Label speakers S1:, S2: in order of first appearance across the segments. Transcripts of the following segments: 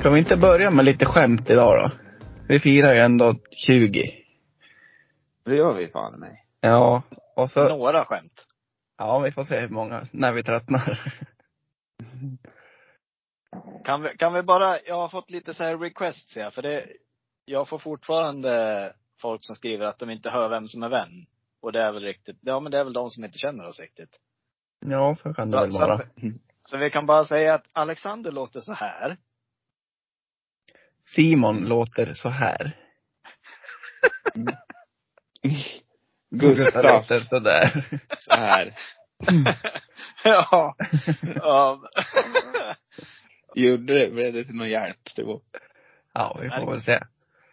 S1: Ska vi inte börja med lite skämt idag då? Vi firar ju ändå 20.
S2: Det gör vi fan i mig.
S1: Ja, och så,
S3: Några skämt.
S1: ja vi får se hur många, när vi tröttnar.
S3: Kan vi, kan vi bara, jag har fått lite så här requests ja, för det, jag får fortfarande folk som skriver att de inte hör vem som är vem. Och det är väl riktigt, ja men det är väl de som inte känner oss riktigt.
S1: Ja, så kan det väl Mm.
S3: så,
S1: vara.
S3: så, så vi kan bara säga att Alexander låter så här.
S1: Simon låter så här.
S2: Gustav,
S1: låter så där.
S2: så här.
S3: ja. ja.
S2: Gjorde det, blev det till någon hjälp? Det var...
S1: Ja, vi får väl se.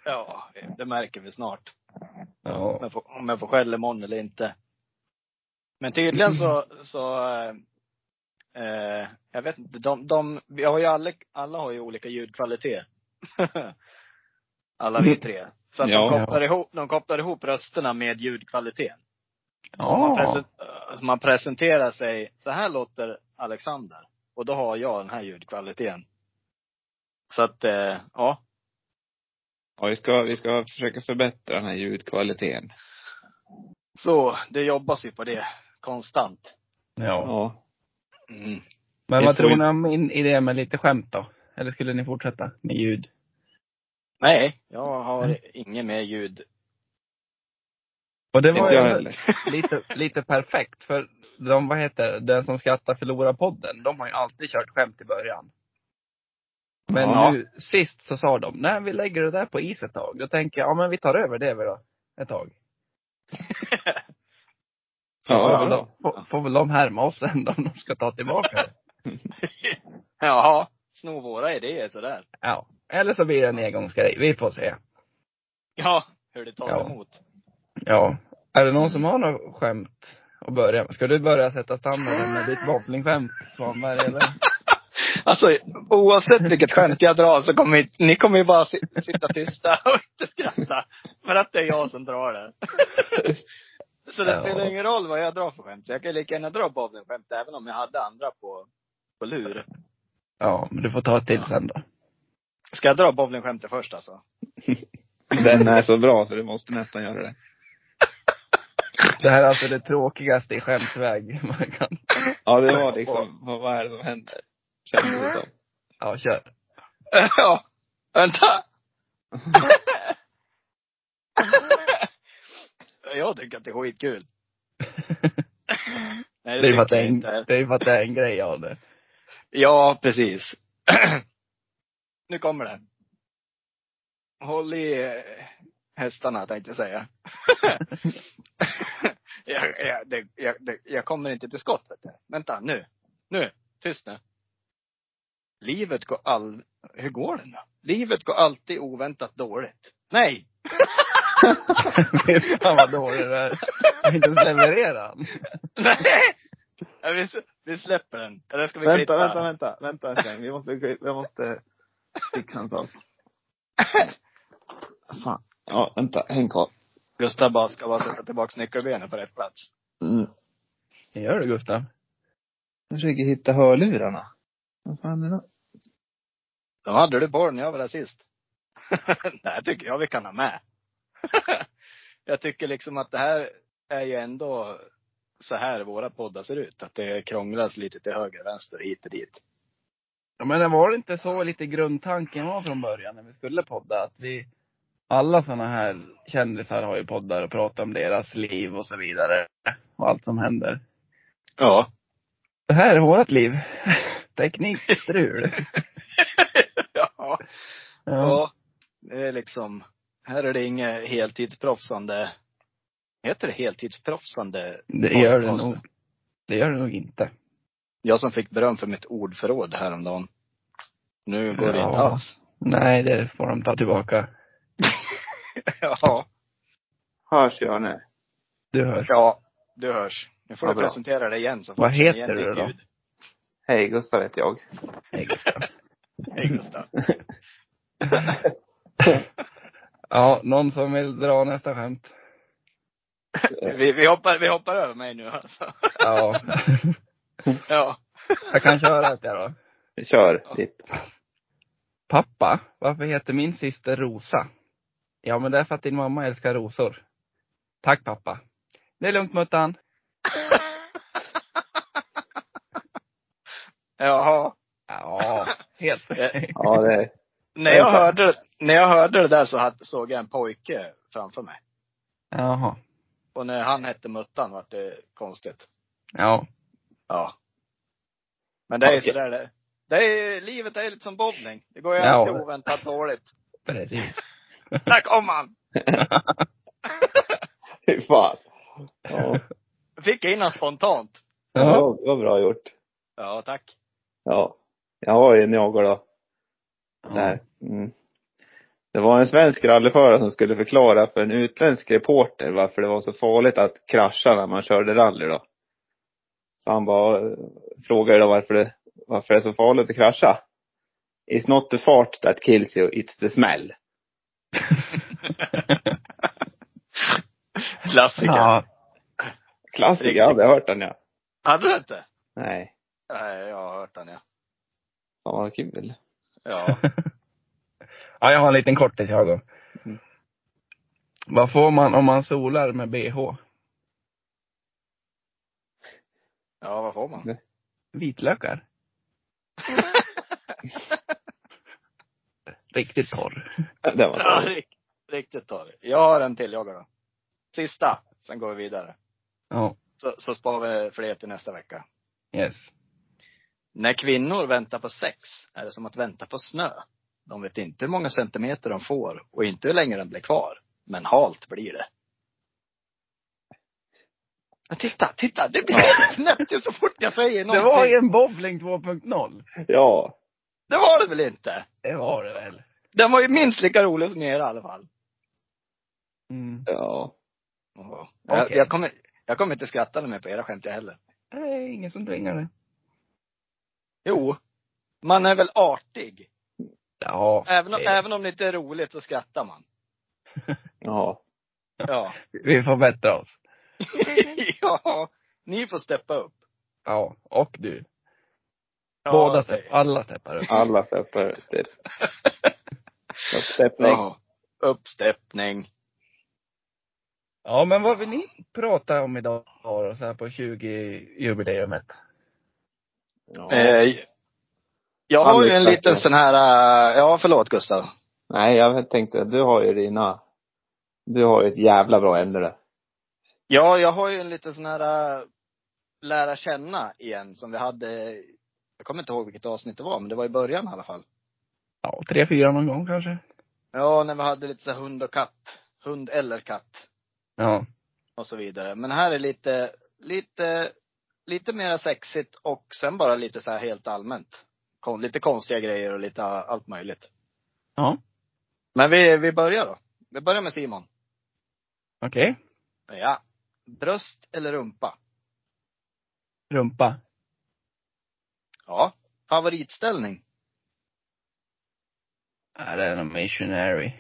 S3: ja, det märker vi snart. Om
S1: Ja.
S3: jag får, om jag får skäll imorgon eller inte. Men tydligen så, så eh, eh, jag vet inte, de, de, vi har ju alla, alla har ju olika ljudkvalitet. alla vi tre. Så att
S2: Ja.
S3: de, kopplar ihop, de kopplar ihop rösterna med ljudkvaliteten. Så om man,
S1: ja.
S3: presen, eh, så man presenterar sig, så här låter Alexander. Och då har jag den här ljudkvaliteten. Så att, eh, ja.
S2: Ja, vi ska, vi ska försöka förbättra den här ljudkvaliteten.
S3: Så, det jobbas ju på det konstant.
S1: ja.
S2: Ja.
S3: Mm.
S1: Men
S2: Vi
S1: vad
S2: får
S1: tror
S2: ju-
S1: ni om min idé med lite skämt då? Eller skulle ni fortsätta med ljud?
S3: Nej, jag har inget mer ljud.
S1: Och det var
S2: Inte jag
S1: ju
S2: heller.
S1: lite, lite perfekt för de, vad heter den som skrattar förlorar podden, de har ju alltid kört skämt i början. Men
S2: Ja.
S1: nu sist så sa de, nej vi lägger det där på is ett tag. Då tänker jag, ja men vi tar över det väl då, ett tag.
S2: Ja,
S1: får, väl
S2: ja.
S1: de, får, får väl de härma oss sen då, om de ska ta tillbaka det.
S3: Jaha, sno våra idéer sådär.
S1: Ja. Eller så blir det en engångsgrej, vi får se.
S3: Ja, hur det tas
S1: Ja.
S3: emot.
S1: Ja. Är det någon som har något skämt att börja med? Ska du börja sätta standarden med ditt bowlingskämt, Svanberg eller?
S3: Alltså, oavsett vilket skämt jag drar så kommer ni- ni kommer ju bara si- sitta tysta och inte skratta. För att det är jag som drar det. Så det
S1: Ja.
S3: spelar ingen roll vad jag drar för skämt. Så jag kan ju lika gärna dra bowlingskämt även om jag hade andra på, på lur.
S1: Ja, men du får ta ett till sen då.
S3: Ska jag dra bowlingskämtet först alltså?
S2: Den är så bra så du måste nästan göra det.
S1: Det här är alltså det tråkigaste i skämtsväg man kan.
S2: Ja, det var liksom, vad, vad är det som händer? Känns det som.
S1: Ja, kör.
S3: Ja, vänta. jag tycker att det är skitkul. Nej,
S1: Det är ju för att det
S3: tycker jag
S1: är en,
S3: inte.
S1: det är för att det är en grej av det.
S3: Ja, precis. nu kommer det. Håll i eh, hästarna tänkte jag säga. jag, jag, det, jag, det, jag kommer inte till skott. Vet du. Vänta, nu. Nu. Tyst nu. Livet går all... Hur går det nu? Livet går alltid oväntat dåligt. Nej!
S1: Fy fan vad dålig det är. Jag inte ens leverera han.
S3: Nej! Ja, vi, s- vi släpper den. Eller ska vi klippa?
S2: Vänta, vänta, vänta, vänta en sväng. Vi måste, vi måste fixa en sak. Fan. Ja, vänta, häng kvar.
S3: Gustav bara ska bara sätta tillbaka nyckelbenet på rätt plats.
S2: Mm.
S1: Gör det Gustav?
S2: Jag försöker hitta hörlurarna. Vad fan är det?
S3: De hade du på den när jag var där sist. det här tycker jag vi kan ha med. jag tycker liksom att det här är ju ändå så här våra poddar ser ut. Att det krånglas lite till höger, vänster, hit och dit.
S1: Ja, men det var det inte så lite grundtanken var från början när vi skulle podda? Att vi, alla sådana här kändisar har ju poddar och pratar om deras liv och så vidare. Och allt som händer.
S3: Ja.
S1: Det här är vårt liv. Teknikstrul.
S3: ja.
S1: Ja.
S3: Ja. Det är liksom, här är det inget heltidsproffsande. Heter det heltidsproffsande?
S1: Det gör det
S3: podcast?
S1: nog. Det gör det nog inte.
S3: Jag som fick beröm för mitt ordförråd häromdagen. Nu går det
S1: Ja.
S3: inte alls.
S1: Nej, det får de ta tillbaka.
S3: ja.
S2: Hörs jag nu?
S1: Du hör.
S3: Ja, du hörs. Nu får
S2: Ja,
S3: du
S2: bra.
S3: presentera dig igen. Så
S1: Vad
S3: får känna
S1: heter du
S3: ditt
S1: då?
S3: ljud.
S2: Hej, Gustav heter jag.
S1: Nej, Gustav.
S3: Hej Gustav.
S1: Ja, någon som vill dra nästa skämt?
S3: Vi, vi, hoppar, vi hoppar över mig nu alltså.
S1: Ja.
S3: Ja.
S1: Jag kan köra ett där då.
S2: Kör, ditt.
S1: Pappa, varför heter min syster Rosa? Ja, men det är för att din mamma älskar rosor. Tack pappa. Det är lugnt Muttan.
S3: Jaha.
S1: Ja, helt okej.
S2: Ja, det är...
S3: När jag hörde, när jag hörde det där så hade- såg jag en pojke framför mig.
S1: Jaha.
S3: Och när han hette Muttan var det konstigt.
S1: Ja.
S3: Ja. Men det är ju
S1: Okej.
S3: sådär det det är, livet är lite som bowling. Det går ju
S1: Ja.
S3: alltid oväntat dåligt.
S1: Precis.
S3: Där kom han!
S2: Fy fan. Ja,
S3: Fick jag in han spontant.
S2: det
S1: Ja.
S2: var, det var bra gjort.
S3: Ja, tack.
S2: Ja. Jag har ju några då. Där. Mm. Det var en svensk rallyförare som skulle förklara för en utländsk reporter varför det var så farligt att krascha när man körde rally då. Så han bara eh, frågade då varför det, varför det är så farligt att krascha. It's not the fart that kills you, it's the smell.
S3: Klassiker.
S1: Ja.
S2: Klassiker, jag hade hört den ja.
S3: Hade du inte?
S2: Nej.
S3: Nej, jag har hört den ja.
S2: Fan vad kul.
S3: Ja.
S1: ja, jag har en liten kortis jag då.
S2: Mm.
S1: Vad får man om man solar med bh?
S3: Ja, vad får man?
S1: Vitlökar. Riktigt torr.
S2: Det var
S3: Ja,
S2: så.
S3: rikt- riktigt torr. Jag har en till, jag då. Sista, sen går vi vidare.
S1: Ja.
S3: Så, så sparar vi fler till nästa vecka.
S1: Yes.
S3: När kvinnor väntar på sex är det som att vänta på snö. De vet inte hur många centimeter de får och inte hur länge den blir kvar. Men halt blir det. Men titta, titta! Det blir knäppt ju så fort jag säger
S1: Det
S3: någonting.
S1: var ju en bowling 2.0.
S2: Ja.
S3: det var det väl inte?
S1: Det var det väl.
S3: Den var ju minst lika rolig som er i alla fall.
S1: Mm.
S2: Ja.
S3: Ja.
S1: Okej.
S3: Jag, jag, kommer, jag kommer inte skratta mer på era skämt jag heller.
S1: Det är ingen som tvingar det.
S3: Jo, man är väl artig.
S1: Ja.
S3: Även om,
S1: det-
S3: även om det inte är roligt så skrattar man.
S2: Ja.
S3: Ja.
S1: Vi får bättre oss.
S3: ja. Ni får steppa upp.
S1: Ja. Och du.
S3: Ja,
S1: Båda
S3: det-
S1: steppar. Alla steppar upp.
S2: Alla steppar efter. Steppning.
S3: Ja. Uppsteppning.
S1: Ja, men vad vill ni prata om idag då, så här på 20-jubileumet?
S2: Ja.
S3: Eh, jag har ju en
S2: Annika,
S3: liten
S2: ja.
S3: sån här, eh, ja förlåt Gustav.
S2: Nej, jag tänkte, du har ju dina, du har ju ett jävla bra ämne där.
S3: Ja, jag har ju en liten sån här eh, lära känna igen som vi hade, jag kommer inte ihåg vilket avsnitt det var, men det var i början i alla fall.
S1: Ja, tre, fyra någon gång kanske?
S3: Ja, när vi hade lite så här hund och katt. Hund eller katt.
S1: Ja.
S3: och så vidare. Men här är lite, lite, lite mera sexigt och sen bara lite så här helt allmänt. Kon, lite konstiga grejer och lite a- allt möjligt.
S1: Ja.
S3: Men vi, vi börjar då. Vi börjar med Simon.
S1: Okej.
S3: Ja. Bröst eller rumpa?
S1: Rumpa.
S3: Ja. Favoritställning?
S1: Ja, det är nog missionary.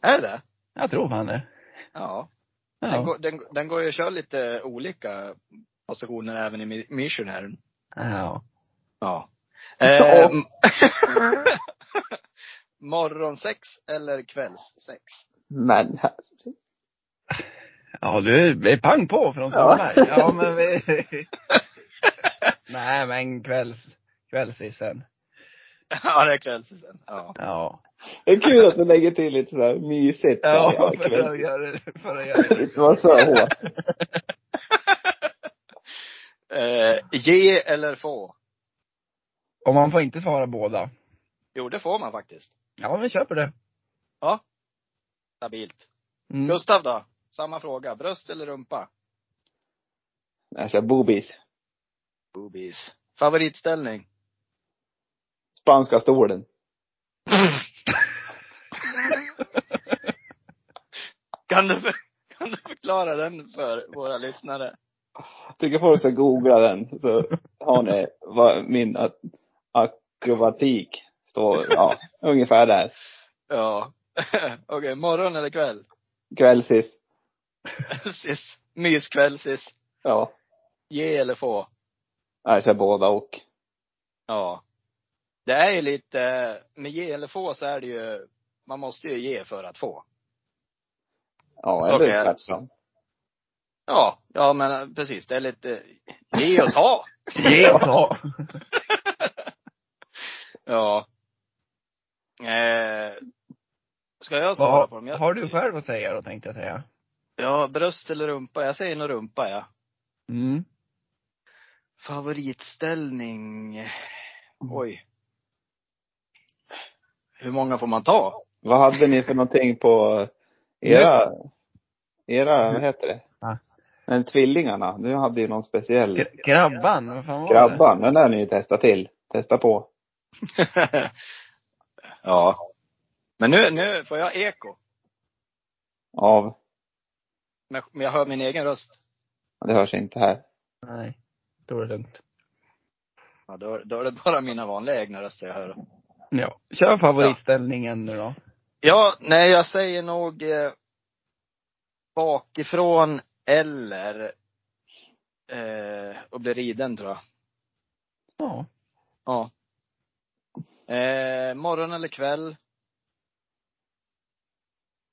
S3: Är det det?
S1: Jag tror fan det.
S3: Ja. Den,
S1: Ja.
S3: går, den, den går ju att köra lite olika positioner även i mi- missionären.
S1: ja.
S3: Ja.
S1: Ja.
S3: Ehm. Morgonsex eller kvällssex?
S2: Men,
S1: Ja, du är pang på från
S2: Ja.
S1: sommar. Ja. ja, men vi... Nej, men kvälls... Kvällsisen.
S3: Ja, det är kvällsisen. Ja.
S1: Ja.
S2: det är kul att du lägger till lite sådär mysigt.
S1: Ja,
S2: så här,
S1: för
S2: kväll.
S1: att göra det. För att göra det.
S2: Lite var så här hårt.
S3: Eh, ge eller få?
S1: Och man får inte svara båda.
S3: Jo, det får man faktiskt.
S1: Ja, vi köper det.
S3: Stabilt.
S1: Mm.
S3: Gustav då? Samma fråga. Bröst eller rumpa?
S2: Det är så här boobies.
S3: Boobies. Favoritställning?
S2: Spanska stolen.
S3: kan, du för, kan du förklara den för våra lyssnare?
S2: Tycker folk ska googla den, så har ni vad min a- akrobatik står, ja, ungefär där.
S3: Ja. Okej, morgon eller kväll?
S2: Kvällsis.
S3: sis. Myskväll, sis.
S2: Ja.
S3: Ge eller få?
S2: Jag kör båda och.
S3: Ja. Det är ju lite, med ge eller få så är det ju, man måste ju ge för att få.
S2: Ja,
S3: Så
S2: eller
S3: är det.
S2: tvärtom.
S3: Ja, ja men precis. Det är lite, ge och ta.
S1: Ge och ta.
S3: Ja. Eh, ska jag svara
S1: Vad
S3: på dem? Jag,
S1: har du själv att säga då, tänkte jag säga.
S3: Ja, bröst eller rumpa. Jag säger nog rumpa, ja.
S1: Mm.
S3: Favoritställning? Oj. Hur många får man ta?
S2: Vad hade ni för någonting på era, era, vad heter det?
S1: Ja.
S2: Men tvillingarna, du hade ju någon speciell.
S1: Gra- Grabban, vad fan var det?
S2: Grabban, den där ni ju testa till. Testa på.
S3: ja. Men nu, nu får jag eko.
S2: Av,
S3: Men men jag hör min egen röst.
S2: det hörs inte här.
S1: Nej. Då är det lugnt.
S3: Ja, då, då är det bara mina vanliga egna röster jag hör.
S1: Ja. Kör favoritställningen nu då.
S3: Ja, nej jag säger nog eh, bakifrån eller eh, och bli riden tror jag.
S1: Ja.
S3: Ja. Eh, morgon eller kväll?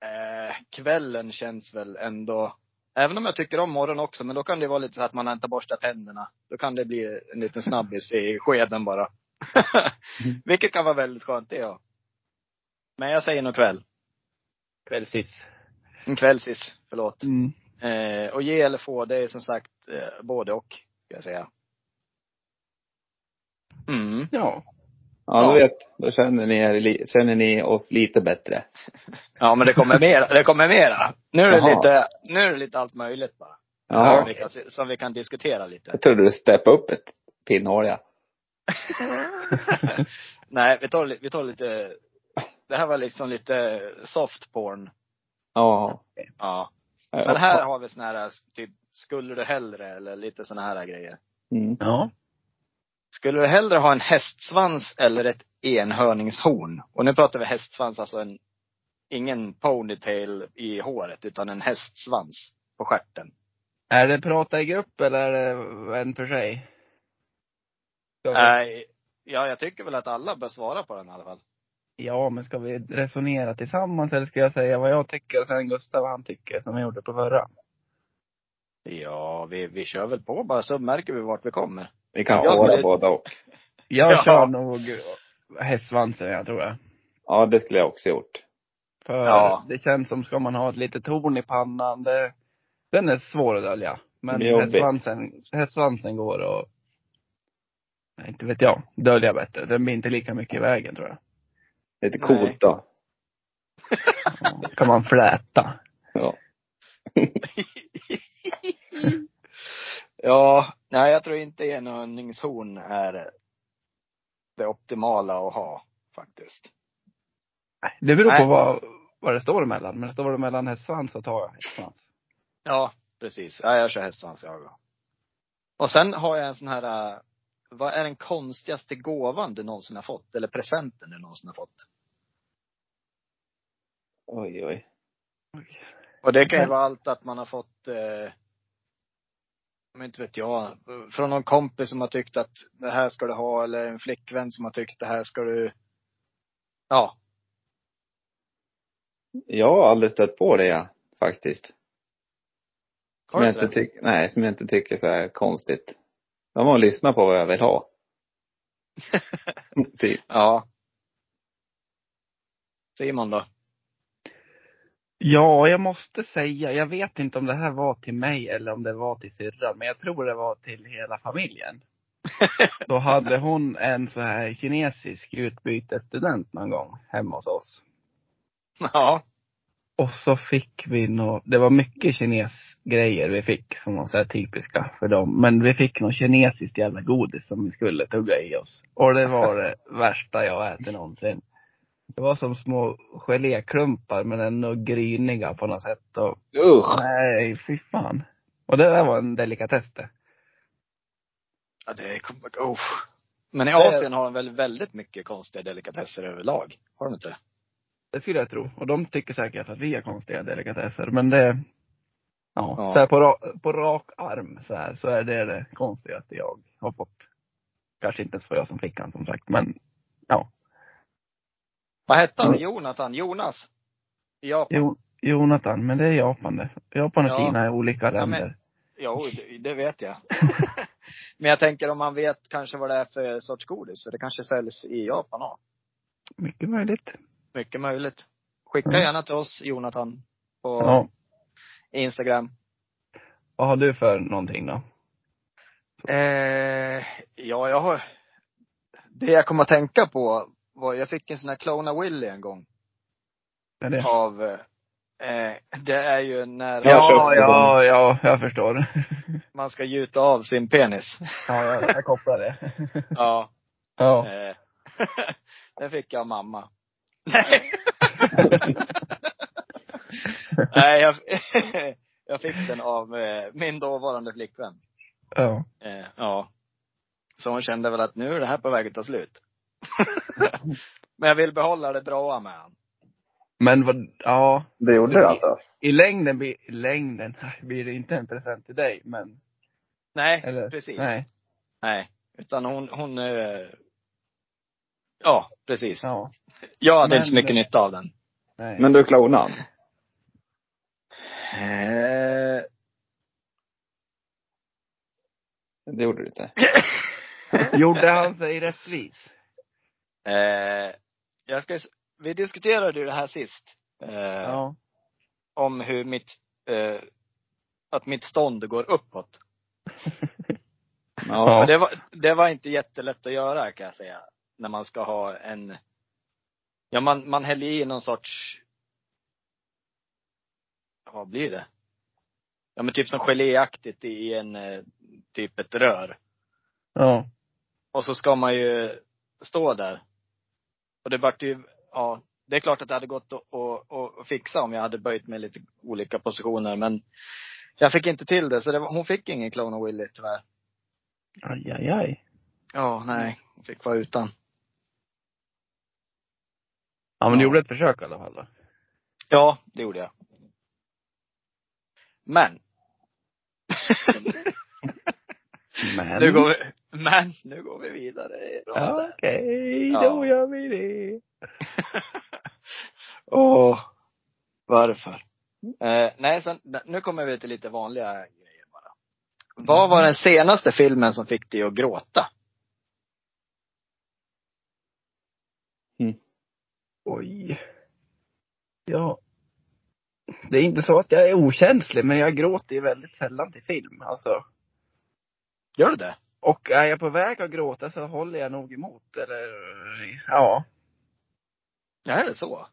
S3: Eh, kvällen känns väl ändå, även om jag tycker om morgon också, men då kan det vara lite så att man inte borstat tänderna. Då kan det bli en liten snabbis i skeden bara. Vilket kan vara väldigt skönt det ja. Men jag säger nog kväll.
S1: Kvällsys.
S3: En kväll sist, förlåt.
S1: Mm.
S3: Eh, och ge eller få, det är som sagt eh, både och, ska jag säga. Mm.
S1: Ja.
S2: Ja,
S3: Ja.
S2: du vet, då känner ni, er, li- känner ni oss lite bättre.
S3: Ja, men det kommer mera. Det kommer mera. Nu är det,
S2: Jaha.
S3: lite, nu är det lite allt möjligt bara. Som,
S2: Ja.
S3: vi kan, som vi kan diskutera lite.
S2: Jag trodde du steppade upp ett pinnhål, ja.
S3: Nej, vi tar, li- vi tar lite, det här var liksom lite soft porn.
S2: Ja.
S3: Ja. Men här har vi såna här, typ, skulle du hellre, eller lite såna här grejer.
S2: Mm.
S1: Ja.
S3: Skulle du hellre ha en hästsvans eller ett enhörningshorn? Och nu pratar vi hästsvans, alltså en, ingen ponytail i håret, utan en hästsvans på stjärten.
S1: Är det prata i grupp eller är det en för sig? Ska vi-
S3: Nej, Eh, ja, jag tycker väl att alla bör svara på den i alla fall.
S1: Ja, men ska vi resonera tillsammans eller ska jag säga vad jag tycker och sen Gustav vad han tycker som jag gjorde på förra?
S3: Ja, vi, vi kör väl på bara så märker vi vart vi kommer.
S2: Vi kan
S3: Jag
S2: svara
S3: skulle-
S2: båda och.
S1: Jag
S3: Ja.
S1: kör nog hästsvansen jag tror jag.
S2: Ja, det skulle jag också gjort.
S1: För
S3: Ja.
S1: det känns som, ska man ha ett litet horn i pannan, det, den är svår att dölja. Men
S2: Det är jobbigt.
S1: hästsvansen, hästsvansen går att, nej, inte vet jag, dölja bättre. Den blir inte lika mycket i vägen tror jag.
S2: Lite
S3: Nej.
S2: coolt då.
S1: Ja, kan man fläta.
S2: Ja.
S3: Ja, nej jag tror inte enhörningshorn är det optimala att ha faktiskt.
S1: Nej, Det beror på
S3: Nej.
S1: vad, vad det står emellan. Men står det mellan hästsvans så tar jag hästsvans.
S3: Ja, precis. Ja, jag kör hästsvans jag också. Och sen har jag en sån här, eh, vad är den konstigaste gåvan du någonsin har fått? Eller presenten du någonsin har fått?
S2: Oj, oj.
S3: Och det kan ju vara allt att man har fått, eh, men inte vet jag, från någon kompis som har tyckt att det här ska du ha eller en flickvän som har tyckt det här ska du, ja.
S2: Jag har aldrig stött på det, ja. Faktiskt. Som
S3: Har du
S2: jag,
S3: inte
S2: inte
S3: det?
S2: tyck, nej, som jag inte tycker så här konstigt. De har lyssnat på vad jag vill ha. typ.
S3: Ja. Simon då?
S1: Ja, jag måste säga, jag vet inte om det här var till mig eller om det var till syrran, men jag tror det var till hela familjen. Då hade hon en så här kinesisk utbytesstudent någon gång hemma hos oss.
S3: Ja.
S1: Och så fick vi nå, det var mycket kinesgrejer vi fick som var så här typiska för dem. Men vi fick något kinesiskt jävla godis som vi skulle tugga i oss. Och det var det värsta jag ätit någonsin. Det var som små geléklumpar men ändå gryniga på något sätt. Och
S2: Usch!
S1: Nej, fy fan. Och det där var en delikatess det.
S3: Ja, det kommer, oh. Men i Asien har de väl väldigt mycket konstiga delikatesser överlag? Har de inte det?
S1: Det skulle jag tro. Och de tycker säkert att vi har konstiga delikatesser. Men det, ja,
S3: Ja.
S1: så här på, ra, på rak arm så här, så är det det konstigaste jag har fått. Kanske inte ens för jag som fick han som sagt, men
S3: Vad hette han?
S1: Ja.
S2: Mm.
S3: Jonathan? Jonas? I Japan?
S1: Jo, Jonathan, men det är Japan det. Japan och
S3: Ja.
S1: Kina är olika
S3: Ja, men-
S1: länder.
S3: Jo, det, det vet jag. men jag tänker om man vet kanske vad det är för sorts godis, för det kanske säljs i Japan också.
S1: Mycket möjligt.
S3: Mycket möjligt. Skicka
S1: Mm.
S3: gärna till oss, Jonathan, på
S1: Ja.
S3: Instagram.
S1: Vad har du för någonting då?
S3: Eh, ja, jag har... Det jag kom att tänka på var, jag fick en sån här Clona Willy en gång.
S1: Är det?
S3: Av, eh, det är ju när
S2: Jag har
S1: Ja,
S2: köpt det.
S1: ja, ja, jag förstår.
S3: man ska gjuta av sin penis.
S1: Ja, jag, jag kopplar det.
S3: Ja.
S1: Ja.
S3: Eh, den fick jag av mamma. Nej. Nej, jag, jag fick den av eh, min dåvarande flickvän.
S1: ja.
S3: Eh, ja. Så hon kände väl att nu är det här på väg att ta slut. Men jag vill behålla det bra med han.
S1: Men vad, ja.
S2: Det gjorde det alltså?
S1: I längden, blir- i längden blir det inte en present till dig, men.
S3: Nej,
S1: Eller?
S3: precis. Nej.
S1: Nej.
S3: Utan hon, hon eh, ja, precis.
S1: Ja.
S3: Jag hade
S1: Men-
S3: inte så mycket nytta av den.
S1: Nej.
S2: Men du klonan?
S3: Eh,
S2: Det gjorde du inte?
S1: Gjorde han sig rättvis?
S3: eh, jag ska, s- vi diskuterade ju det här sist. Eh,
S1: Ja.
S3: Om hur mitt, eh, att mitt stånd går uppåt.
S2: Ja.
S1: Ja.
S3: Men det, var, det var inte jättelätt att göra kan jag säga. När man ska ha en, ja man, man häller i någon sorts, ja, vad blir det? Ja men typ som geléaktigt i en, eh, typ ett rör.
S1: Ja.
S3: Och så ska man ju stå där. Och det vart ju, ja, det är klart att det hade gått att, att, att, att fixa om jag hade böjt mig lite olika positioner men jag fick inte till det så det var, hon fick ingen Clone och Willy tyvärr.
S1: Aj, aj, aj.
S3: Ja, nej. Hon fick vara utan.
S1: Ja, men du
S3: Ja.
S1: gjorde ett försök i alla fall då.
S3: Ja, det gjorde jag. Men.
S1: Men.
S3: nu går vi, men nu går vi vidare. Det är bra
S1: Ja,
S3: det.
S1: Okej,
S3: Ja.
S1: då gör vi det.
S3: Åh, varför? Eh, nej, sen, nu kommer vi till lite vanliga grejer bara. Vad var den senaste filmen som fick dig att gråta?
S1: Oj. Ja. Det är inte så att jag är okänslig, men jag gråter ju väldigt sällan till film. Alltså.
S3: Gör du det?
S1: Och är jag på väg att gråta så håller jag nog emot. Eller, ja.
S3: Ja, är det så?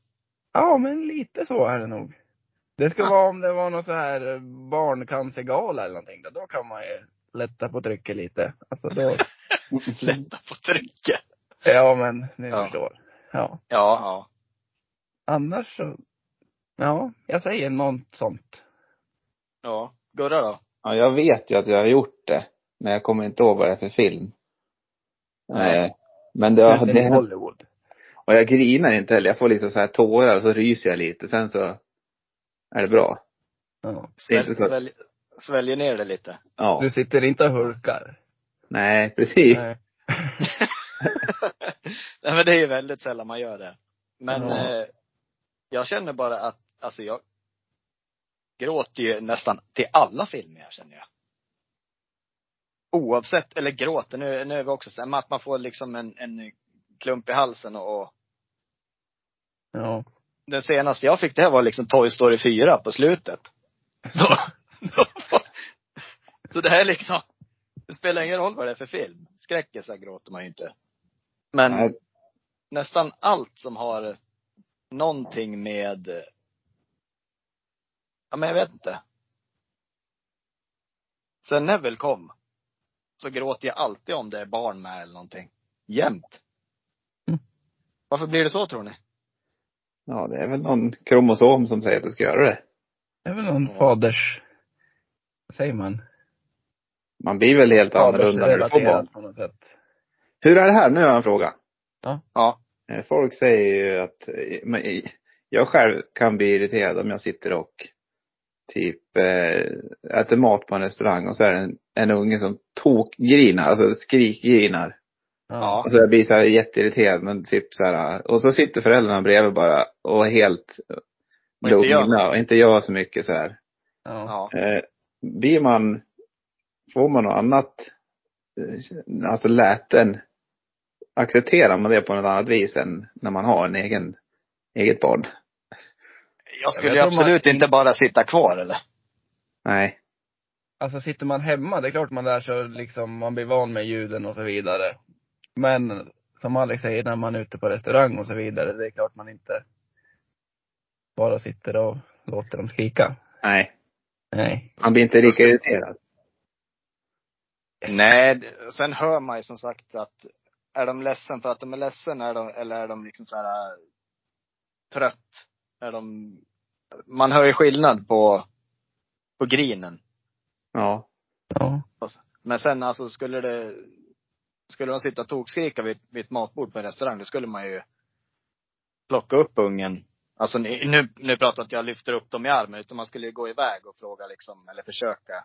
S1: Ja, men lite så är det nog. Det ska
S3: Ja.
S1: vara om det var någon så här eh, barncancergala eller någonting. Då, då kan man ju lätta på trycket lite. Alltså då,
S3: Lätta på trycket.
S1: ja men ni
S3: Ja.
S1: förstår. Ja.
S3: Ja, ja.
S1: Annars så, ja, jag säger något sånt.
S3: Ja. Gurra då?
S2: Ja, jag vet ju att jag har gjort det. Men jag kommer inte ihåg vad det är för film.
S3: Nej.
S2: Nej. Men det, har-
S1: Kanske i
S2: det,
S1: Hollywood.
S2: och jag grinar inte heller. Jag får liksom så här tårar och så ryser jag lite. Sen så är det bra.
S1: Ja.
S2: Det är inte
S3: Svälj,
S2: så-
S3: svälj, sväljer ner det lite.
S2: Ja.
S1: Du sitter inte och hulkar.
S2: Nej, precis.
S1: Nej.
S3: Nej men det är ju väldigt sällan man gör det. Men
S1: Ja.
S3: eh, jag känner bara att, alltså jag gråter ju nästan till alla filmer jag känner jag. Oavsett, eller gråter, nu, nu är vi också så här, men att man får liksom en, en klump i halsen och, och
S1: Ja.
S3: den senaste jag fick det här var liksom Toy Story 4 på slutet. Så, så det här är liksom, det spelar ingen roll vad det är för film. Skräckisar gråter man ju inte. Men
S2: Nej.
S3: nästan allt som har någonting med, ja men jag vet inte. Sen Neville kom, så gråter jag alltid om det är barn med eller någonting. Jämt.
S1: Mm.
S3: Varför blir det så tror ni?
S2: Ja, det är väl någon kromosom som säger att du ska göra det.
S1: Det är väl någon
S3: Ja.
S1: faders, vad säger man?
S2: Man blir väl helt annorlunda när du får barn.
S1: på något sätt.
S2: Hur är det här? Nu har jag en fråga.
S3: Ja.
S2: Eh, Folk säger ju att, eh, men i- jag själv kan bli irriterad om jag sitter och typ eh, äter mat på en restaurang och så är det en, en unge som tokgrinar, alltså skrikgrinar.
S3: Ja.
S2: Alltså jag blir så här jätteirriterad men typ så här. Och så sitter föräldrarna bredvid bara och är helt
S3: Och inte gör
S2: lugna och inte gör så mycket så här.
S1: Ja.
S3: Ja.
S2: Eh, blir man, får man något annat, eh, alltså läten, accepterar man det på något annat vis än när man har en egen, eget barn?
S3: Jag skulle
S1: Jag
S3: ju
S1: tror man-
S3: absolut inte bara sitta kvar eller?
S2: Nej.
S1: Alltså sitter man hemma, det är klart man lär sig liksom, man blir van med ljuden och så vidare. Men som Alex säger, när man är ute på restaurang och så vidare, det är klart man inte bara sitter och låter dem skrika.
S2: Nej.
S1: Nej.
S2: Man blir inte lika irriterad.
S3: Nej, d- sen hör man ju som sagt att är de ledsen för att de är ledsen är de, eller är de liksom så här äh, trött? Är de, man hör ju skillnad på, på grinen.
S2: Ja.
S1: Ja.
S3: Men sen alltså skulle det, skulle de sitta och tokskrika vid, vid ett matbord på en restaurang, då skulle man ju plocka upp ungen. Alltså ni- nu, nu pratar jag att jag lyfter upp dem i armen, utan man skulle ju gå iväg och fråga liksom, eller försöka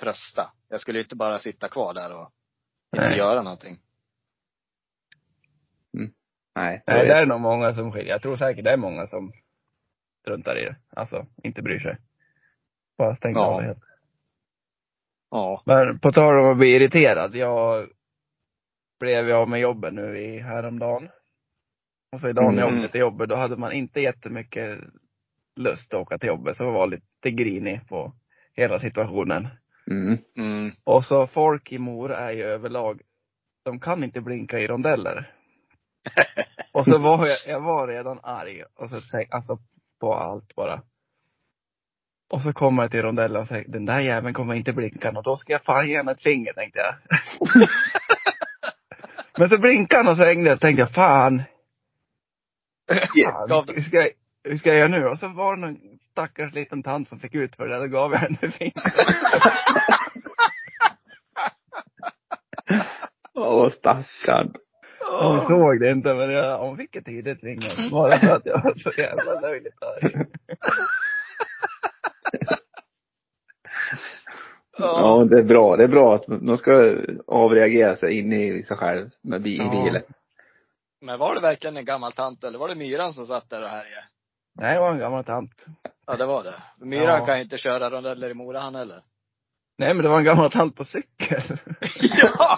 S3: trösta. Jag skulle ju inte bara sitta kvar där och inte
S1: Nej.
S3: göra någonting.
S2: Nej.
S1: Nej, det är nog många som skiljer. Jag tror säkert det är många som struntar i det. Alltså, inte bryr sig. Bara stänger
S3: Ja.
S1: av det helt.
S3: Ja.
S1: Men på tal om att bli irriterad. Jag blev ju av med jobbet nu i häromdagen. Och så idag när jag
S3: Mm.
S1: åkte till jobbet, då hade man inte jättemycket lust att åka till jobbet. Så jag var lite grinig på hela situationen.
S2: Mm.
S3: Mm.
S1: Och så folk i Mora är ju överlag, de kan inte blinka i rondeller. och så var jag, jag var redan arg. Och så tänkte, alltså på allt bara. Och så kommer jag till rondellen och säger, den där jäveln kommer inte blinka och då ska jag fan ge henne ett finger tänkte jag. Men så blinkade han och svängde och tänkte jag, fan, fan
S3: Gav
S1: hur, ska jag, hur ska jag göra nu? Och så var det någon stackars liten tant som fick ut för det där, då gav jag henne fingret.
S2: Åh, stackarn.
S1: Hon såg det inte, men jag, hon fick ett tidigt finger. Bara för att jag var så jävla löjligt arg.
S2: Ja, det är bra. Det är bra att man ska avreagera sig in i sig själv med bi- i
S1: Ja.
S2: bilen.
S3: Men var det verkligen en gammal tant eller var det myran som satt där och härjade?
S1: Nej, det var en gammal tant.
S3: Ja, det var det. Myran
S1: Ja.
S3: kan ju inte köra rondeller i Mora han heller.
S1: Nej, men det var en gammal tant på cykel.
S3: ja!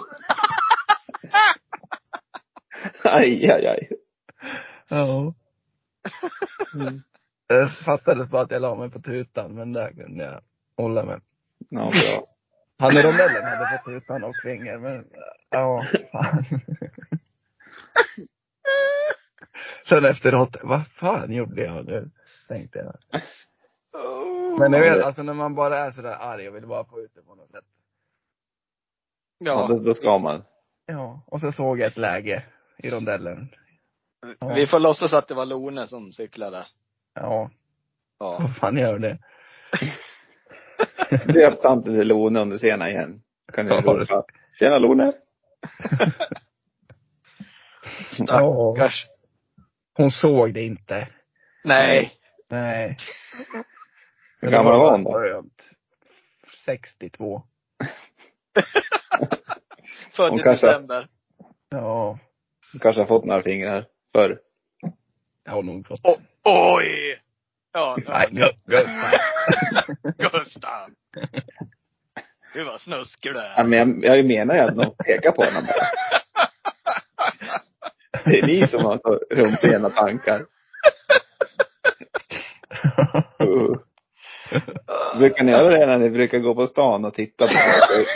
S2: Aj, aj, aj.
S1: Ja. Det fattades Mm. bara att jag la mig på tutan, men där kunde jag hålla mig.
S2: Ja, bra.
S1: Han i rondellen hade fått tutan och finger, men ja, fan. Sen efteråt, vad fan gjorde jag nu? Tänkte jag. Men jag vet, alltså när man bara är sådär arg och vill bara få ut det på något sätt.
S2: Ja, då,
S3: ja.
S2: då ska man.
S1: Ja, och så såg jag ett läge i rondellen. Ja.
S3: Vi får låtsas att det var Lone som cyklade.
S1: Ja,
S3: Ja.
S1: vad fan gör det?
S2: Döp tanten till Lone om du ser henne igen. Kan du
S1: Ja.
S2: ropa. Tjena Lone.
S1: Ja,
S3: Stackars.
S1: hon såg det inte.
S3: Nej.
S1: Nej.
S2: Hur gammal var hon då?
S1: då? 62.
S3: Född
S2: Hon
S3: i
S2: kanske-
S3: december.
S1: Ja,
S2: Du kanske har fått några fingrar förr.
S1: jag har nog fått.
S3: O- oj! Ja, nu-
S1: Nej, gud, gud.
S3: Gustav. Gud vad snuskig du
S2: Ja,
S3: är.
S2: men jag, jag menar ju att de pekar på henne bara. Det är ni som har så rumsrena tankar. Uh. Brukar ni göra det när ni brukar gå på stan och titta på folk?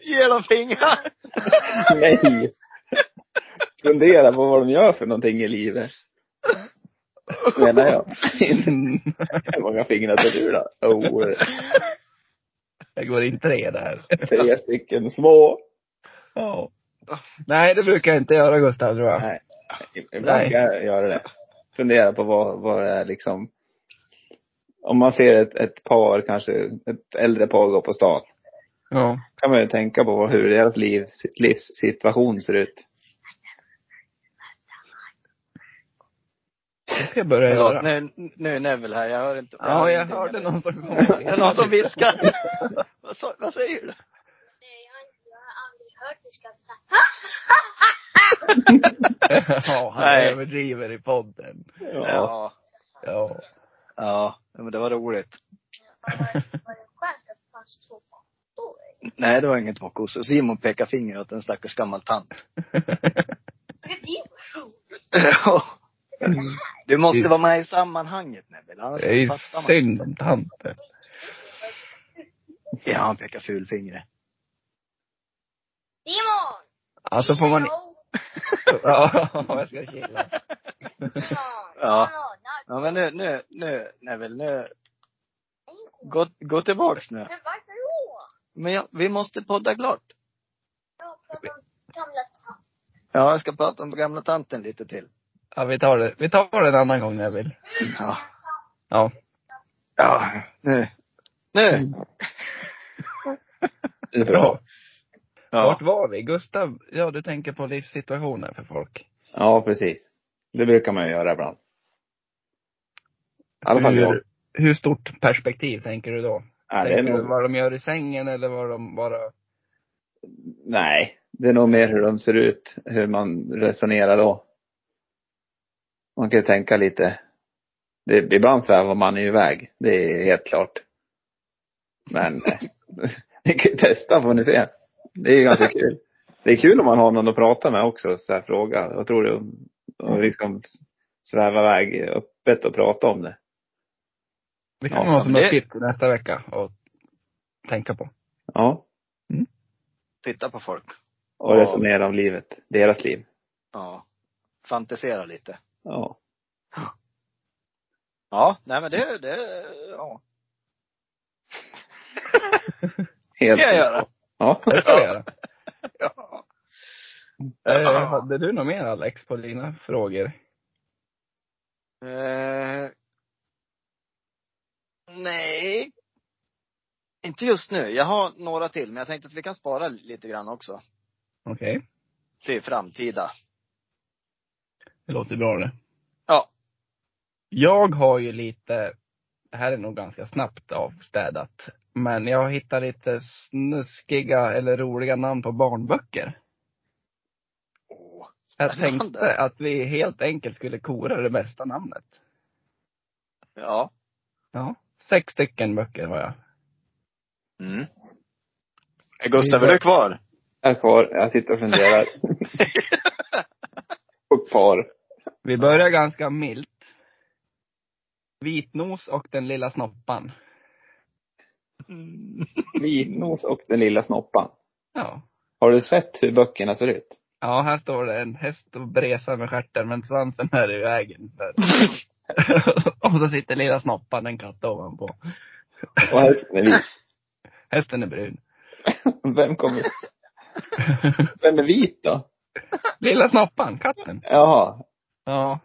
S3: Ge dem fingrar!
S2: Nej! Fundera på vad de gör för någonting i livet. Menar jag. Hur många fingrar tar du då? Oh,
S1: Jag går in tre där.
S2: tre stycken små.
S1: Ja. Nej, det brukar jag inte göra Gustav tror jag.
S2: Nej. Ibland kan jag göra det. Fundera på vad, vad det är liksom. Om man ser ett, ett par, kanske ett äldre par gå på stan.
S1: Ja.
S2: kan man ju tänka på vad- hur deras liv, livssituation ser ut.
S1: Det ska jag börja
S3: Förlåt,
S1: göra.
S3: nu, nu är Neville här. Jag hör inte.
S1: Ja,
S3: hör
S1: jag
S3: ingenting.
S1: hörde någon som kom.
S3: Det är någon som viskar. vad, sa, vad säger du?
S4: Nej, jag har aldrig hört hört dig skratta så här.
S1: ja, han
S3: Nej.
S1: överdriver i podden.
S3: Ja.
S1: Ja.
S3: Ja, men det var roligt.
S4: Vad Var det- var det skönt att det fanns två kor?
S3: Nej, det var inget mockosse. Simon pekar finger åt en stackars gammal tant.
S4: Men det var roligt.
S3: Ja. Du måste vara med i sammanhanget Neville, annars
S1: Det är ju
S3: fattar man.
S1: synd om tanten.
S3: Ja, han pekar fulfingret.
S4: Simon!
S1: Alltså får man...
S4: Hello,
S1: Ja, jag ska chilla.
S4: Simon!
S3: Ja.
S4: Hello, not
S3: Ja, men nu, nu, nu, Neville, nu.
S4: me.
S3: Gå, gå tillbaks nu.
S4: Men varför då?
S3: Men ja, vi måste podda klart.
S4: Jag pratar om gamla tant.
S3: Ja, jag ska prata om gamla tanten lite till.
S1: Ja, vi tar det. Vi tar det en annan gång när jag vill.
S3: Ja.
S1: Ja.
S3: Ja, nu.
S1: Mm.
S3: Nu!
S2: Det är
S1: Bra.
S2: bra.
S1: Vart
S3: Ja.
S1: var vi? Gustav, ja du tänker på livssituationer för folk.
S2: Ja, precis. Det brukar man ju göra ibland. I alla fall jag.
S1: hur, hur stort perspektiv tänker du då?
S2: Ja, det är
S1: tänker du
S2: nog,
S1: vad de gör i sängen eller vad de bara...
S2: nej, det är nog mer hur de ser ut, hur man resonerar då. Man kan ju tänka lite. Det, ibland svävar man ju iväg, det är helt klart. Men eh, ni kan ju testa får ni se. Det är ju ganska kul. Det är kul om man har någon att prata med också, så här fråga. Jag tror det, och liksom sväva iväg öppet och prata om det.
S1: Det
S2: Ja,
S1: kan vara som
S3: men
S1: ett
S3: det-
S1: tips nästa vecka och tänka på.
S2: Ja.
S3: Titta på folk.
S2: Och
S3: Ja.
S2: resonera om livet, deras liv.
S3: Ja. Fantisera lite.
S2: Ja.
S3: Ja, nej men det, det, ja. Det
S2: Helt
S3: kan jag göra.
S2: Ja.
S1: Det ska vi göra.
S3: Ja.
S1: Eh, hade du något mer Alex på dina frågor?
S3: Eh, nej. Inte just nu. Jag har några till, men jag tänkte att vi kan spara lite grann också.
S1: Okej.
S3: Till framtida.
S1: Det låter bra det.
S3: Ja.
S1: Jag har ju lite, det här är nog ganska snabbt avstädat, men jag har hittat lite snuskiga eller roliga namn på barnböcker.
S3: Åh,
S1: Jag
S3: spännande.
S1: tänkte att vi helt enkelt skulle kora det bästa namnet.
S3: Ja.
S1: Ja. Sex stycken böcker har jag.
S3: Mm. Eh, Gustav, är du kvar?
S2: Jag är kvar, jag sitter och funderar. och kvar.
S1: Vi börjar ganska milt. Vitnos och den lilla snoppan.
S2: Vitnos och den lilla snoppan.
S1: Ja.
S2: Har du sett hur böckerna ser ut?
S1: Ja, här står det en häst och bresar med stjärten men svansen är i vägen. För... och så sitter lilla snoppan, en katt ovanpå.
S2: Och hästen är vit.
S1: Hästen är brun.
S2: Vem kommer... Vem är vit då?
S1: lilla snoppan, katten.
S2: Jaha.
S1: Ja,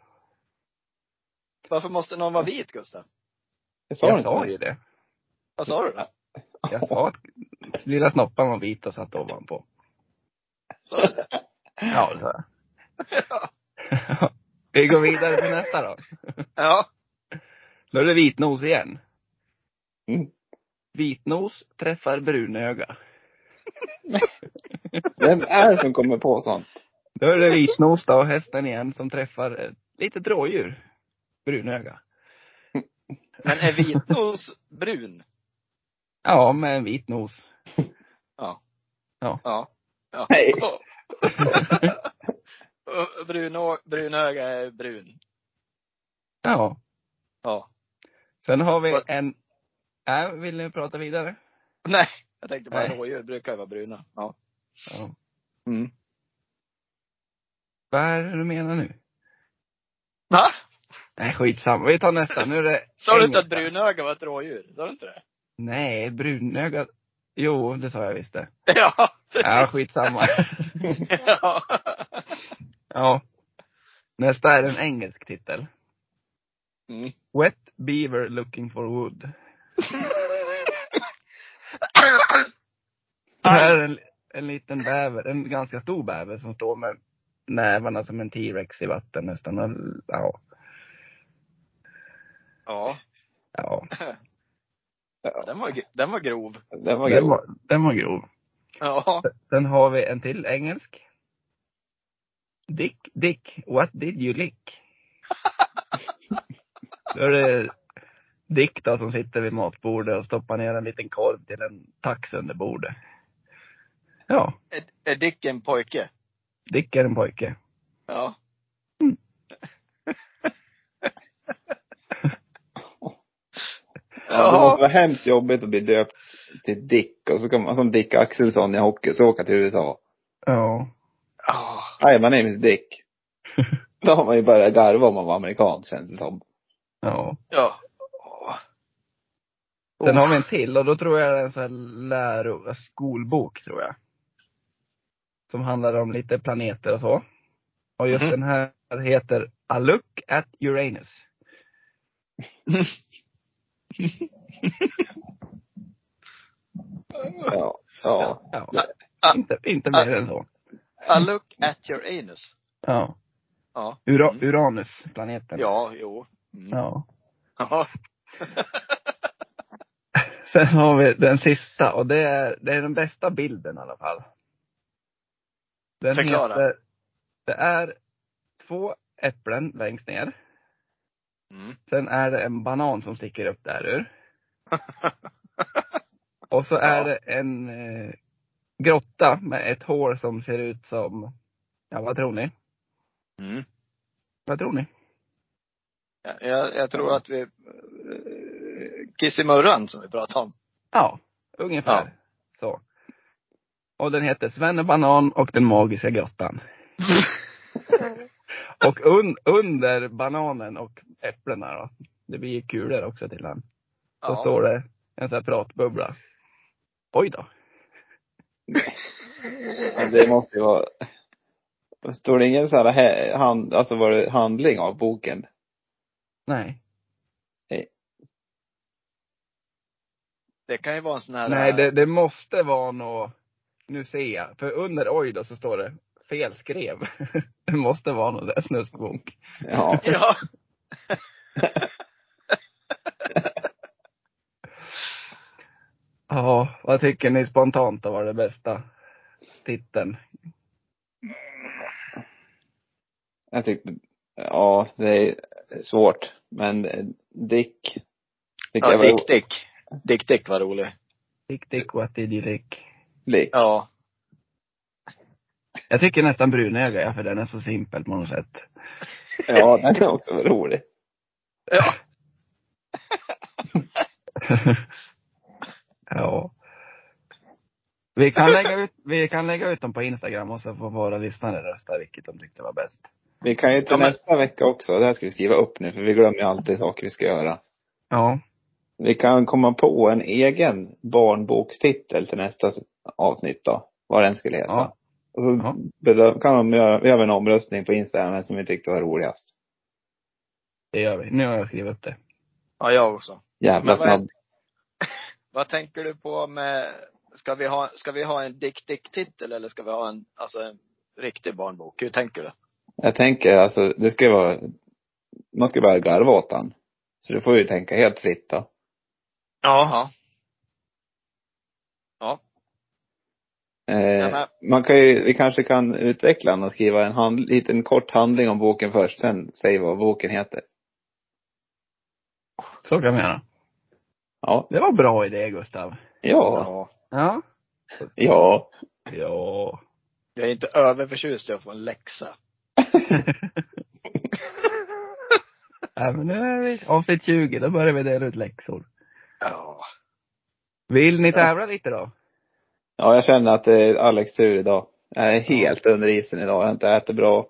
S3: Varför måste någon vara vit, Gustav?
S2: Jag sa
S1: jag
S2: inte
S1: sa
S2: det.
S1: ju det.
S3: Vad sa du då?
S1: Jag sa att lilla snoppan var vit och satt ovanpå.
S3: Sa du det?
S1: Ja, det sa jag. Vi går vidare till nästa då.
S3: Ja.
S1: Då är det vitnos igen.
S2: Mm.
S1: Vitnos träffar brunöga.
S2: Vem är det som kommer på sånt?
S1: Då är det vitnos då, hästen igen, som träffar ett litet rådjur. Brunöga.
S3: Men är vitnos brun?
S1: Ja, med en vit nos.
S3: Ja. ja.
S2: Nej.
S3: Och Brunå, brunöga är brun.
S1: Ja.
S3: Ja.
S1: Sen har vi
S3: Vad-
S1: en... Äh, vill ni prata vidare?
S3: Nej, jag tänkte bara
S1: Nej.
S3: rådjur brukar ju vara bruna. Ja.
S1: Ja.
S3: Mm.
S1: Vad är det du menar nu?
S3: Va?
S1: Nej, skitsamma. Vi tar nästa. Nu är det
S3: Sa du inte att
S1: engelska.
S3: brunöga var ett rådjur? Sa du inte det?
S1: Nej, brunögat. Jo, det sa jag visst det.
S3: Ja.
S1: Ja, skitsamma.
S3: ja.
S1: ja. Nästa är en engelsk titel.
S3: Mm.
S1: Wet Beaver Looking for Wood. Här är en, en liten bäver, en ganska stor bäver som står med nävarna som en T-rex i vatten nästan. Och- Ja.
S3: ja.
S1: ja.
S3: Den var, den var grov.
S2: Den var
S1: Den,
S2: grov.
S1: var, den var grov.
S3: Ja.
S1: Sen har vi en till engelsk. Dick, Dick, what did you lick? Då är det Dick då som sitter vid matbordet och stoppar ner en liten korv till en tax under bordet. Ja,
S3: Är, är Dick en pojke?
S1: Dick är en pojke.
S3: Ja.
S2: Ja, det måste
S3: ja.
S2: vara hemskt jobbigt att bli döpt till Dick och så kan man, som Dick Axelsson i hockey, så åka till USA.
S1: Ja.
S3: Ja.
S2: Hi, my name is Dick. Då har man ju börjat garva om man var amerikan känns det som.
S1: Ja.
S3: Ja.
S1: Sen har vi en till och då tror jag det är en sån här läro, skolbok tror jag. Som handlar om lite planeter och så. Och just
S3: Mhm.
S1: den här heter A look at Uranus.
S2: Ja. Ja.
S1: Ja.
S3: Ah,
S1: Inte, inte mer än så.
S3: A look at your anus.
S1: Ja.
S3: Ja.
S1: Ura,
S3: Mm.
S1: Uranus, planeten.
S3: Ja, jo. Mm.
S1: ja.
S3: Ja.
S1: Sen har vi den sista och det är, det är den bästa bilden i alla fall. Den
S3: Förklara.
S1: Heter, det är två äpplen längst ner.
S3: Mm.
S1: Sen är det en banan som sticker upp där ur. Och så är
S3: Ja.
S1: det en eh, grotta med ett hår som ser ut som, ja vad tror ni?
S3: Mm.
S1: Vad tror ni?
S3: Ja, Jag, jag tror att vi... eh, Kiss i murran som vi pratade om.
S1: Ja, ungefär så. Och den heter Svenne Banan och den magiska grottan. Och un, under bananen och äpplena då, det blir ju kulor också till den. Så
S3: Ja.
S1: står det en sån här pratbubbla. Oj då.
S2: Men Det måste ju vara... Står det ingen sån här hä- hand, alltså var det handling av boken?
S1: Nej.
S3: Det kan ju vara en sån här... eh,
S1: Nej, det, det måste vara nå. nu ser jag. För under oj då så står det felskrev. det måste vara någon där snuskbok.
S2: Ja.
S3: Ja.
S1: Ja, vad tycker ni spontant då var det bästa titeln?
S2: Jag tyckte, ja, det är svårt. Men eh, Dick. Tycker
S3: ja
S2: jag var
S3: Dick Dick. Dick Dick var rolig.
S1: Dick Dick what did you lick?
S2: rolig.
S3: Ja.
S1: Jag tycker nästan brunöga ja, för den är så simpel på något sätt.
S2: Ja, den är också rolig.
S3: Ja.
S1: ja. Vi kan, lägga ut, vi kan lägga ut dem på Instagram och så får våra lyssnare rösta vilket de tyckte var bäst.
S2: Vi kan ju ta
S3: Ja, men-
S2: nästa vecka också. Det här ska vi skriva upp nu, för vi glömmer ju alltid saker vi ska göra.
S1: Ja.
S2: Vi kan komma på en egen barnbokstitel till nästa avsnitt då. Vad den skulle heta.
S1: Ja.
S2: Och så
S1: Ja.
S2: bedö- kan de göra, vi gör en omröstning på Instagram vem som vi tyckte var roligast.
S1: Det gör vi. Nu har jag skrivit upp det.
S3: Ja, jag också.
S2: Jävla
S3: Men vad är-
S2: snabb.
S3: Vad tänker du på med... Ska vi ha, ska vi ha en Dick Dick-titel eller ska vi ha en, alltså en riktig barnbok? Hur tänker du?
S2: Jag tänker alltså, det ska ju vara, man ska börja garva åt han. Så du får ju tänka helt fritt då.
S3: Ja. Ja.
S2: Eh,
S3: Ja,
S2: man kan ju, vi kanske kan utveckla den och skriva en hand, liten kort handling om boken först, sen säg vad boken heter.
S1: Så kan vi göra.
S2: Ja.
S1: Det var bra idé Gustav.
S2: Ja.
S3: ja.
S1: Ja.
S2: Ja.
S1: Ja.
S3: Jag är inte överförtjust i att få en läxa.
S1: ja men nu är vi avsnitt 20, då börjar vi dela ut läxor.
S3: Ja.
S1: Vill ni tävla lite då?
S2: Ja, jag känner att det är Alex tur idag. Jag är helt under isen idag. Jag har inte ätit bra.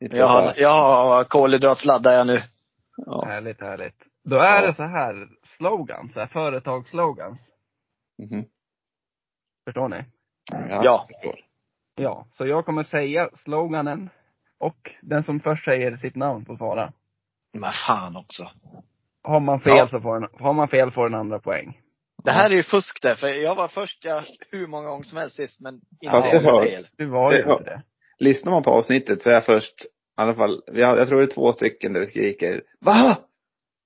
S2: Lite
S3: Jag
S2: så
S3: har,
S2: här.
S3: jag har kolhydratsladdar jag nu.
S2: Ja.
S1: Härligt, härligt. Då är
S2: Ja.
S1: det så här slogans, så här företagsslogans.
S2: Mhm.
S1: Förstår ni?
S2: Ja.
S3: Ja.
S2: förstår.
S1: Ja, så jag kommer säga sloganen och den som först säger sitt namn får svara.
S3: Men fan också.
S1: Har man fel
S3: Ja.
S1: så får den, har man fel får den andra poäng.
S3: Det här är ju fusk där, för jag var först jag, hur många gånger som helst sist, men inte
S2: Fast det
S3: jag
S2: har-
S3: fel.
S1: Du var ju
S2: Ja.
S1: inte det.
S2: Lyssnar man på avsnittet så är jag först, i alla fall, vi har, jag tror det är två stycken där vi skriker Va?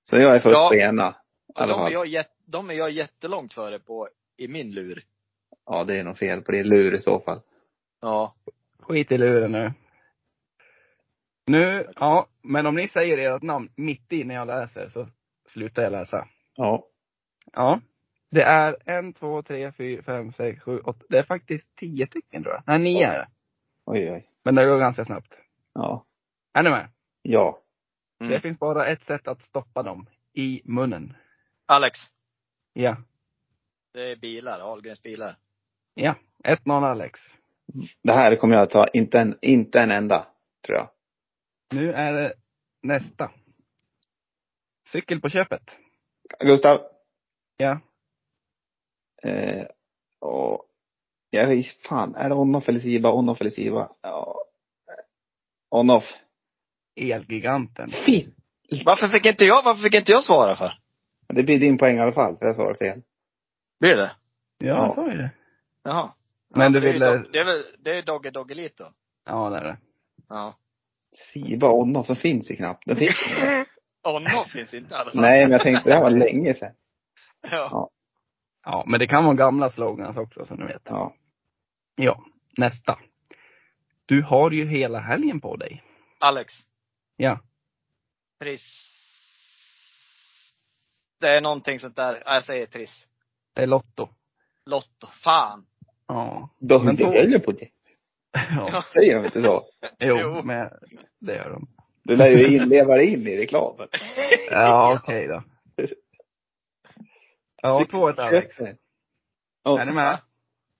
S2: Så jag är först
S3: Ja.
S2: på ena. I alla
S3: De är,
S2: fall.
S3: jag, jätt- de är jag jättelångt före på i min lur.
S2: Ja, det är nog fel på din lur i så fall.
S3: Ja.
S1: Skit i luren nu. Nu, ja, men om ni säger ert namn mitt i när jag läser så slutar jag läsa.
S2: Ja.
S1: Ja. Det är en, två, tre, fyra, fem, sex, sju, åtta. Det är faktiskt tio stycken tror jag. Nej, nio är det.
S2: Oj, oj.
S1: Men det går ganska snabbt.
S2: Ja.
S1: Är ni med?
S2: Ja.
S3: Mm.
S1: Det finns bara ett sätt att stoppa dem. I munnen.
S3: Alex,
S1: Ja.
S3: det är bilar. Ahlgrens bilar.
S1: Ja. 1-0 Alex.
S2: Det här kommer jag ta, inte en, inte en enda, tror jag.
S1: Nu är det nästa. Cykel på köpet.
S2: Gustav?
S1: Ja.
S2: Eh, och, jag vet fan, är det on-off eller siva? On-off eller siva? Ja. On-off.
S1: Elgiganten.
S2: Fint!
S3: Varför fick inte jag, varför fick inte jag svara för?
S2: Det blir din poäng i alla fall, för jag svarade fel.
S3: Blir det?
S1: Ja,
S2: Ja.
S1: jag sa ju det.
S3: Jaha.
S1: Men du
S3: det är
S1: ville-
S3: ju dog- Det är väl, det är Dogge Doggelito?
S1: Ja, det är det.
S3: Ja.
S2: Siva on-off, som finns ju knappt. Den finns ju inte.
S3: Onno finns inte i alla fall.
S2: Nej, men jag tänkte det här var länge sedan.
S3: Ja.
S1: Ja, men det kan vara gamla slogans också som ni vet.
S2: Ja.
S1: Ja, nästa. Du har ju hela helgen på dig.
S3: Alex.
S1: Ja.
S3: Triss. Det är någonting sånt där. Ja, Jag säger Triss.
S1: Det är Lotto.
S3: Lotto. Fan.
S1: Ja.
S2: Då
S1: Men
S2: men det
S1: då-
S2: höll på det.
S1: ja.
S2: Säger de inte så?
S1: Jo,
S3: Jo.
S1: men det gör de.
S2: Det lär ju inleva in i reklamen.
S1: Ja, okej då. Ja,
S2: Cykel-
S1: 2-1 Alex.
S2: Ja,
S1: Är ni med?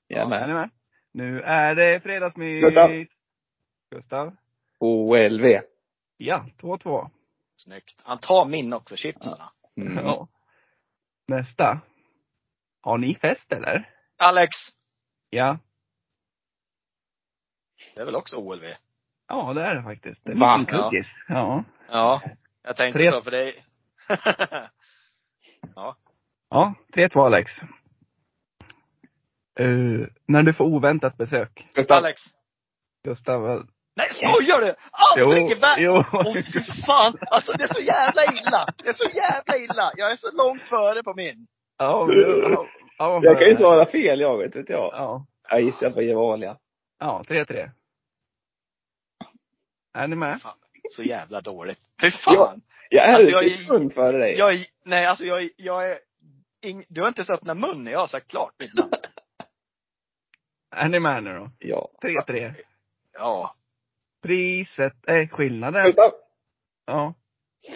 S2: jag är
S1: Är
S2: med.
S1: ni med? Nu är det fredagsmys.
S2: Gustav.
S1: Gustav.
S2: OLV.
S1: Ja, 2-2.
S3: Snyggt. Han tar min också, chipsarna.
S2: Mm.
S1: Ja. Nästa. Har ni fest eller?
S3: Alex.
S1: Ja.
S3: Det är väl också OLV?
S1: Ja, det är det faktiskt. Det är
S2: Va?
S1: en liten kuggis. Ja.
S3: Ja. Jag tänkte
S1: Tre-
S3: så för dig.
S1: Ja, 3-2 Alex. Eh, när du får oväntat besök.
S2: Gustav.
S3: Alex.
S1: Gustav,
S3: Nej, skojar du? Aldrig i världen!
S1: jo.
S3: Åh fy fan! Alltså det är så jävla illa! Det är så jävla illa! Jag är så långt före på min.
S1: Ja, men du- ja, ja, vad
S2: Jag kan ju
S1: fan.
S2: svara fel jag, vet inte jag.
S1: Ja.
S2: Jag gissar på Gevalia.
S1: Ja, 3-3. Är ni med?
S3: Så jävla dåligt. Fy fan!
S2: Jag är
S3: Alltså,
S2: alltså,
S3: jag är-
S2: jag... sekund före dig.
S3: Jag är, nej alltså jag är, jag är ing, du har inte ens öppnat mun när jag har sagt klart mitt namn.
S1: Är ni med nu då?
S2: Ja.
S1: 3-3.
S3: Ja.
S1: Priset, är skillnaden.
S2: Gustav.
S1: Ja.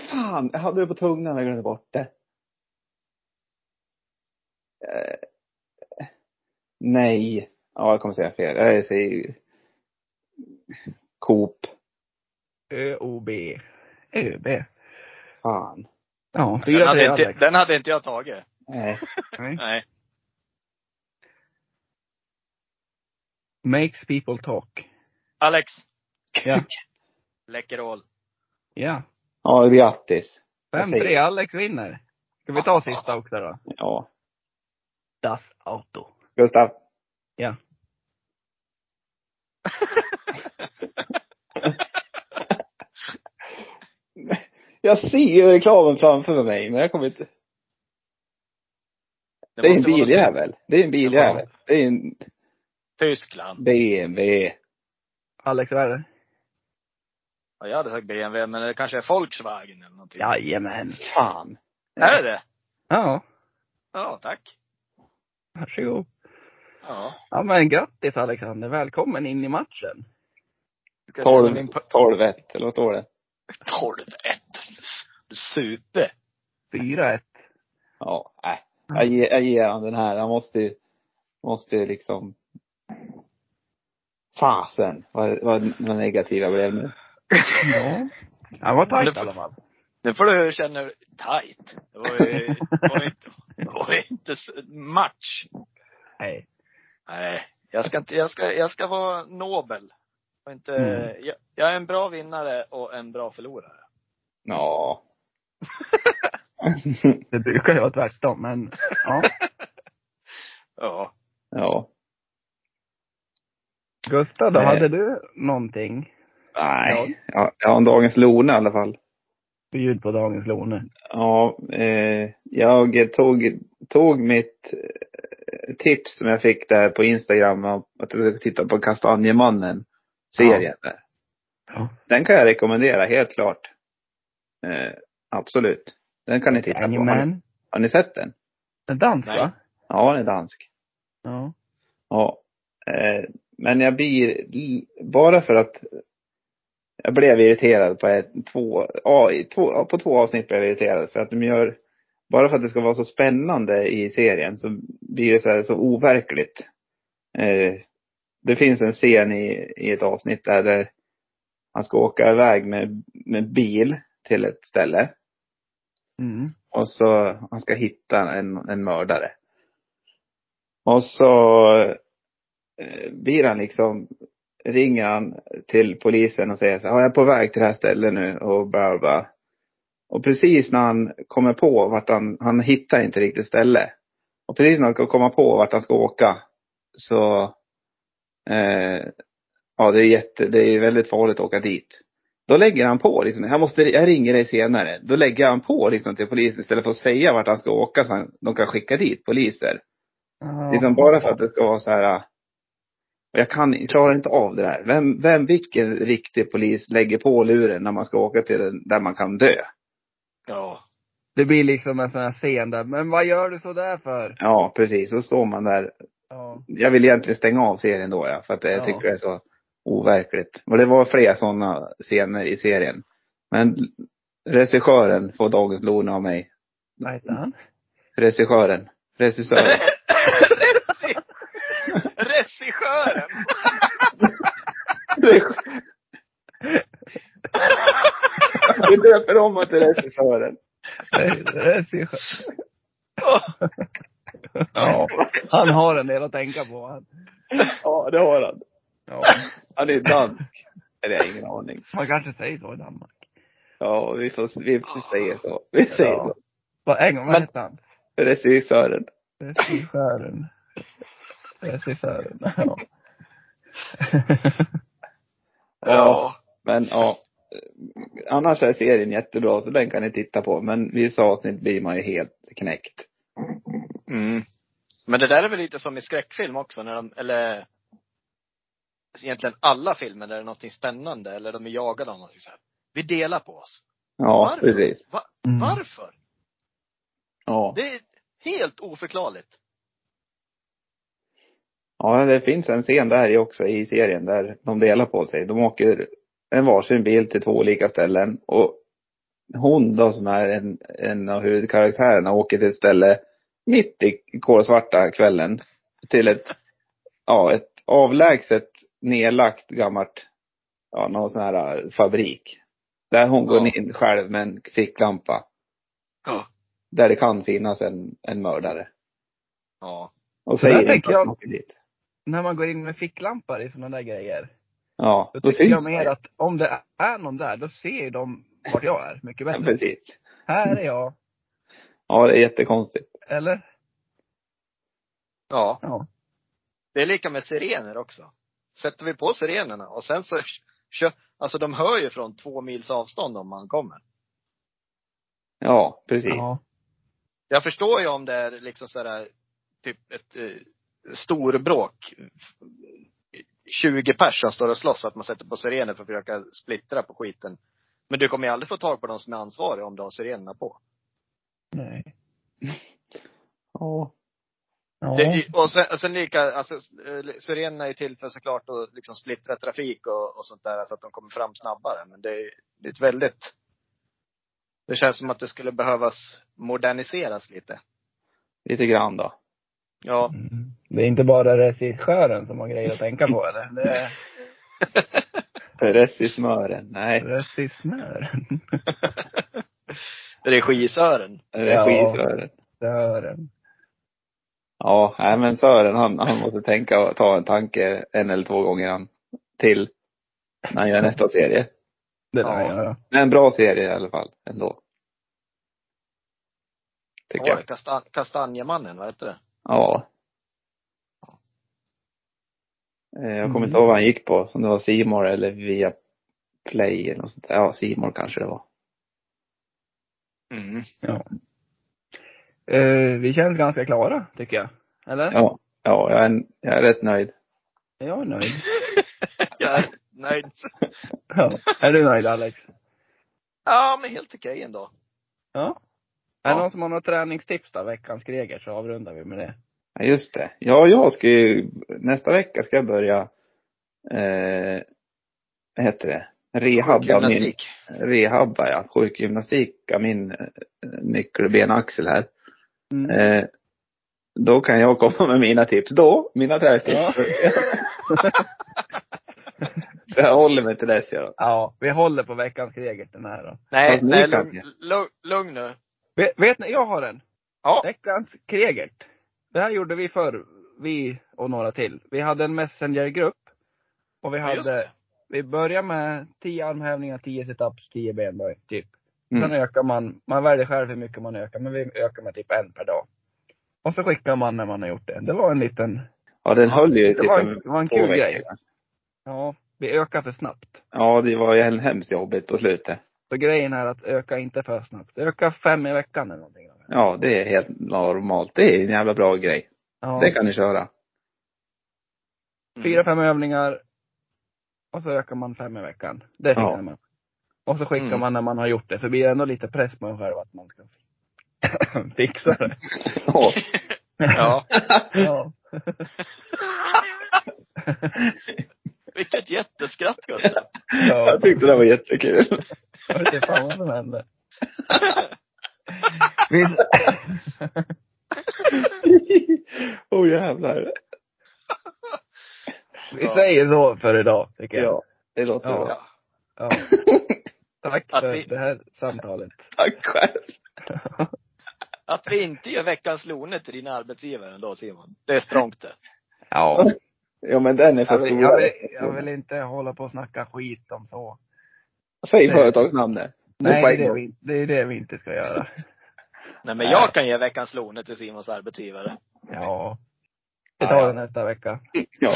S2: Fan, jag hade det på tungan och glömde bort det. Eh, nej. Ja, jag kommer säga fel. Jag säger ju- Coop.
S1: ÖOB. ÖB.
S2: Fan.
S1: Ja,
S3: Den hade,
S1: 4-3
S3: inte,
S1: Alex. Mm.
S3: den hade inte jag tagit.
S2: Nej.
S1: Nej.
S3: Nej.
S1: Makes people talk.
S3: Alex.
S1: Ja.
S3: Läckerol.
S1: Ja.
S2: Ja, grattis. Jag säger-
S1: 5-3 Alex vinner. Ska vi ta sista också då?
S2: Ja.
S1: Das Auto.
S2: Gustav.
S1: Ja.
S2: jag ser ju reklamen framför mig, men jag kommer inte... Det, är en
S3: måste vara
S2: biljävel. Det är en biljävel. Det är en
S3: Tyskland.
S2: BMW.
S1: Alex, vad är det?
S3: Ja, jag hade sagt BMW, men det kanske är Volkswagen eller någonting.
S1: Jajamän.
S2: Fan.
S3: Är det det?
S1: Ja,
S3: Ja, tack.
S1: varsågod.
S3: Ja.
S1: Ja men grattis Alexander, välkommen in i matchen.
S3: Ska jag lämna
S2: 12,
S3: min po-
S2: 12 1, eller vad står det?
S3: 12 1. Super.
S1: 4-1.
S2: Ja, nej. Jag ger, jag ger han den här. Han måste ju, måste ju liksom... Fasen, vad, vad, vad negativ jag blev nu.
S1: Ja. Han var
S3: Men
S1: tajt
S3: det-
S1: i alla fall.
S3: Nu får du känna hur tight. Det var ju, det var ju inte, det var ju inte s- match.
S1: Nej.
S3: Nej, jag ska inte, jag ska, jag ska vara nobel. Och inte,
S1: Mm.
S3: jag, jag är en bra vinnare och en bra förlorare.
S2: Ja.
S1: Det brukar ju vara tvärtom men ja.
S3: Ja.
S2: ja.
S1: Gustav, då
S2: Nej.
S1: hade du någonting
S2: Nej. Ja, jag har en dagens Lona i alla fall.
S1: bjud på dagens låne?
S2: Ja, eh, jag tog, tog mitt tips som jag fick där på Instagram. om Att jag ska titta på Kastanjemannen-serien där.
S1: Ja.
S2: Den kan jag rekommendera, helt klart. Eh, absolut. Den kan ni titta på. Har ni,
S1: Jajamän.
S2: har ni sett den?
S1: En dans
S3: Nej.
S1: va?
S2: Ja, den är dansk.
S1: Ja.
S2: Ja. Eh, men jag blir, li- bara för att jag blev irriterad på ett, två, ja, i två, ja, på två avsnitt blev jag irriterad för att de gör, bara för att det ska vara så spännande i serien så blir det så, här, så overkligt. Eh, det finns en scen i, i ett avsnitt där, där han ska åka iväg med, med bil till ett ställe.
S1: Mm.
S2: Och så han ska hitta en, en mördare. Och så eh, blir han liksom, ringer han till polisen och säger så här, "Ja, jag är på väg till det här stället nu och bla bla. Och precis när han kommer på vart han, han hittar inte riktigt ställe. Och precis när han ska komma på vart han ska åka så, eh, ja det är jätte, det är väldigt farligt att åka dit. Då lägger han på liksom, jag, måste, jag ringer dig senare. Då lägger han på liksom till polisen istället för att säga vart han ska åka så han, de kan skicka dit poliser.
S1: Ja.
S2: Liksom bara för att det ska vara så här. äh, Och jag kan, jag klarar inte av det där. Vem, vem, vilken riktig polis lägger på luren när man ska åka till den, där man kan dö?
S3: Ja.
S1: Det blir liksom en sån här scen där, men vad gör du så där för?
S2: Ja, precis. Så står man där.
S1: Ja.
S2: Jag vill egentligen stänga av serien då ja, för att jag
S1: Ja.
S2: tycker det är så overkligt. Och det var flera sådana scener i serien. Men regissören får dagens lon av mig.
S1: Vad heter han?
S2: Regissören. Regissören.
S3: Regissören!
S2: Vi döper om honom till regissören.
S1: ja. Han har en del att tänka på han.
S2: Ja, det har han.
S1: Ja.
S2: Han är dansk. Eller jag har ingen aning.
S1: Man kanske säger så i Danmark.
S2: Ja, vi får, vi får säga så. Vi säger
S1: Ja.
S2: så.
S1: Vad, en gång, vad
S3: Men-
S1: hette han?
S2: Regissören.
S1: Regissören. Regissören. Ja.
S2: Ja. Men ja. Annars är serien jättebra, så den kan ni titta på. Men vissa avsnitt blir man ju helt knäckt.
S3: Mm. Men det där är väl lite som i skräckfilm också, när de, eller egentligen alla filmer där det är någonting spännande eller de är jagade av någonting så här. Vi delar på oss.
S2: Ja,
S3: Varför?
S2: precis.
S3: Va,
S1: Mm.
S3: Varför?
S2: Ja.
S3: Det är helt oförklarligt.
S2: Ja, det finns en scen där i också i serien där de delar på sig. De åker en varsin bil till två olika ställen och hon då som är en, en av huvudkaraktärerna åker till ett ställe mitt i kolsvarta kvällen till ett, ja, ett avlägset nedlagt gammalt, ja, någon sån här äh, fabrik. Där hon går
S3: Ja.
S2: in själv med en ficklampa.
S3: Ja.
S2: Där det kan finnas en, en mördare.
S3: Ja.
S2: Och
S1: Så där
S2: säger inte
S1: tänker
S2: att
S1: jag-
S2: man åker dit.
S1: När man går in med ficklampor i sådana där grejer.
S2: Ja,
S1: Då
S2: då
S1: tycker jag
S2: syns
S1: mer
S2: det.
S1: att om det är någon där, då ser ju de vart jag är mycket
S2: Ja,
S1: bättre.
S2: precis.
S1: Här är jag.
S2: Ja, det är jättekonstigt.
S1: Eller?
S3: Ja.
S1: Ja.
S3: Det är lika med sirener också. Sätter vi på sirenerna och sen så kör, alltså de hör ju från två mils avstånd om man kommer.
S2: Ja, precis. Ja.
S1: Ja.
S3: Jag förstår ju om det är liksom sådär, typ ett eh, storbråk. 20 pers som står och slåss, att man sätter på sirener för att försöka splittra på skiten. Men du kommer ju aldrig få tag på de som är ansvariga om du har sirenerna på.
S1: Nej.
S2: Ja.
S1: Ja.
S3: Det, och sen, och sen lika, alltså eh, sirenerna är ju till för såklart att liksom splittra trafik och, och sånt där så att de kommer fram snabbare. Men det är, det är ett väldigt, det känns som att det skulle behövas moderniseras lite.
S2: Lite grann då.
S3: Ja.
S1: Mm. Det är inte bara regissören som har grejer att tänka på eller? Det är
S2: Rest i smören. Nej,
S1: regissören.
S3: Regisören.
S2: regisören. Ja.
S1: Sören.
S2: ja, nej men Sören han, han måste tänka och ta en tanke en eller två gånger han till. När han gör nästa serie.
S1: Det lär
S3: Ja.
S1: jag göra.
S2: Men en bra serie i alla fall ändå. Tycker
S3: Ja,
S2: jag.
S3: kastan, kastanjemannen, vad heter det?
S2: Ja. Eh, Jag kommer
S1: Mm.
S2: inte ihåg vad han gick på. Om det var Simor eller via Play eller något sånt där. Ja, Simor kanske det var.
S3: Mm.
S1: Eh, vi känns ganska klara, tycker jag. Eller?
S2: Ja, ja jag, är, jag är rätt nöjd.
S1: Jag är nöjd.
S3: Jag är nöjd.
S1: Ja. Är du nöjd Alex?
S3: Ja, men helt okej ändå.
S1: Ja. Är det
S3: Ja.
S1: någon som har några träningstips då? Veckans Greger så avrundar vi med det.
S2: Ja, just det. Ja, jag ska ju, nästa vecka ska jag börja, eh, vad heter det? Rehabba min,
S3: Gymnastik.
S2: rehabba ja, sjukgymnastik av min eh, nyckelbenaxel här.
S1: Mm.
S2: Eh, då kan jag komma med mina tips då, mina träningstips. Så jag håller mig till dess jag då.
S1: Ja, vi håller på veckans Greger den här då.
S3: Nej,
S2: Fast nu
S3: nej
S2: kan
S3: lugn, lugn, lugn nu.
S1: Vet, vet ni, jag har en.
S3: Ja.
S1: Veckans Kregert. Det här gjorde vi förr, vi och några till. Vi hade en messengergrupp. Och vi
S3: Ja, just
S1: hade,
S3: det.
S1: vi började med 10 armhävningar, 10 situps, 10 benböj, typ.
S2: Mm.
S1: Sen ökar man, man väljer själv hur mycket man ökar, men vi ökar med typ en per dag. Och så skickar man när man har gjort det. Det var en liten,
S2: Ja, den höll ju
S1: det
S2: typ
S1: var en, det var en
S2: två
S1: kul
S2: veckor.
S1: grej. Ja, vi ökar för snabbt.
S2: Ja, det var ju en hemskt jobbigt på slutet.
S1: Så grejen är att öka inte för snabbt. Öka fem i veckan eller någonting.
S2: Ja, det är helt normalt. Det är en jävla bra grej.
S1: Ja.
S2: Det kan ni köra.
S3: Mm.
S1: fyra, fem övningar. Och så ökar man fem i veckan. Det fixar
S2: Ja.
S1: man. Och så skickar
S3: Mm.
S1: man när man har gjort det. Så blir det ändå lite press på en själv att man ska fixa det.
S2: Ja.
S3: Mm. Ja.
S1: ja.
S3: Vilket jätteskratt Gustav.
S1: ja.
S2: Jag tyckte det var jättekul.
S1: Jag vet inte fan vad som hände. Visst,
S2: Åh oh, jävlar.
S1: vi säger så för idag, tycker jag.
S2: Ja, det låter
S1: Ja.
S2: bra.
S3: Ja.
S1: Ja. Tack
S3: Att
S1: för
S3: vi-
S1: det här samtalet.
S2: Tack själv.
S3: Att vi inte gör veckans Lone till dina arbetsgivare ändå Simon. Det är strångt det.
S1: Ja.
S2: Ja men den är för
S1: Jag
S2: stor.
S1: vill, jag, vill, jag vill inte hålla på och snacka skit om så.
S2: Säg företagsnamnet.
S1: Nej,
S2: på
S1: det
S2: en
S1: är det
S2: gång.
S1: vi, inte- det, är det vi inte ska göra.
S3: Nej men jag kan ge veckans Lone till Simons arbetsgivare.
S1: Ja. Vi
S2: Ja, ja.
S1: tar det nästa vecka.
S2: Ja.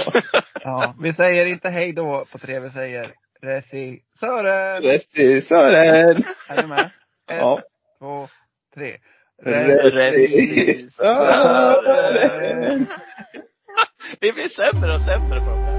S1: Ja, vi säger inte hej då på tre, vi säger regissören.
S2: Regissören.
S1: Är du med? Ett,
S2: Ja.
S1: två, tre.
S2: Regissören.
S3: Vi blir sämre och sämre på det här.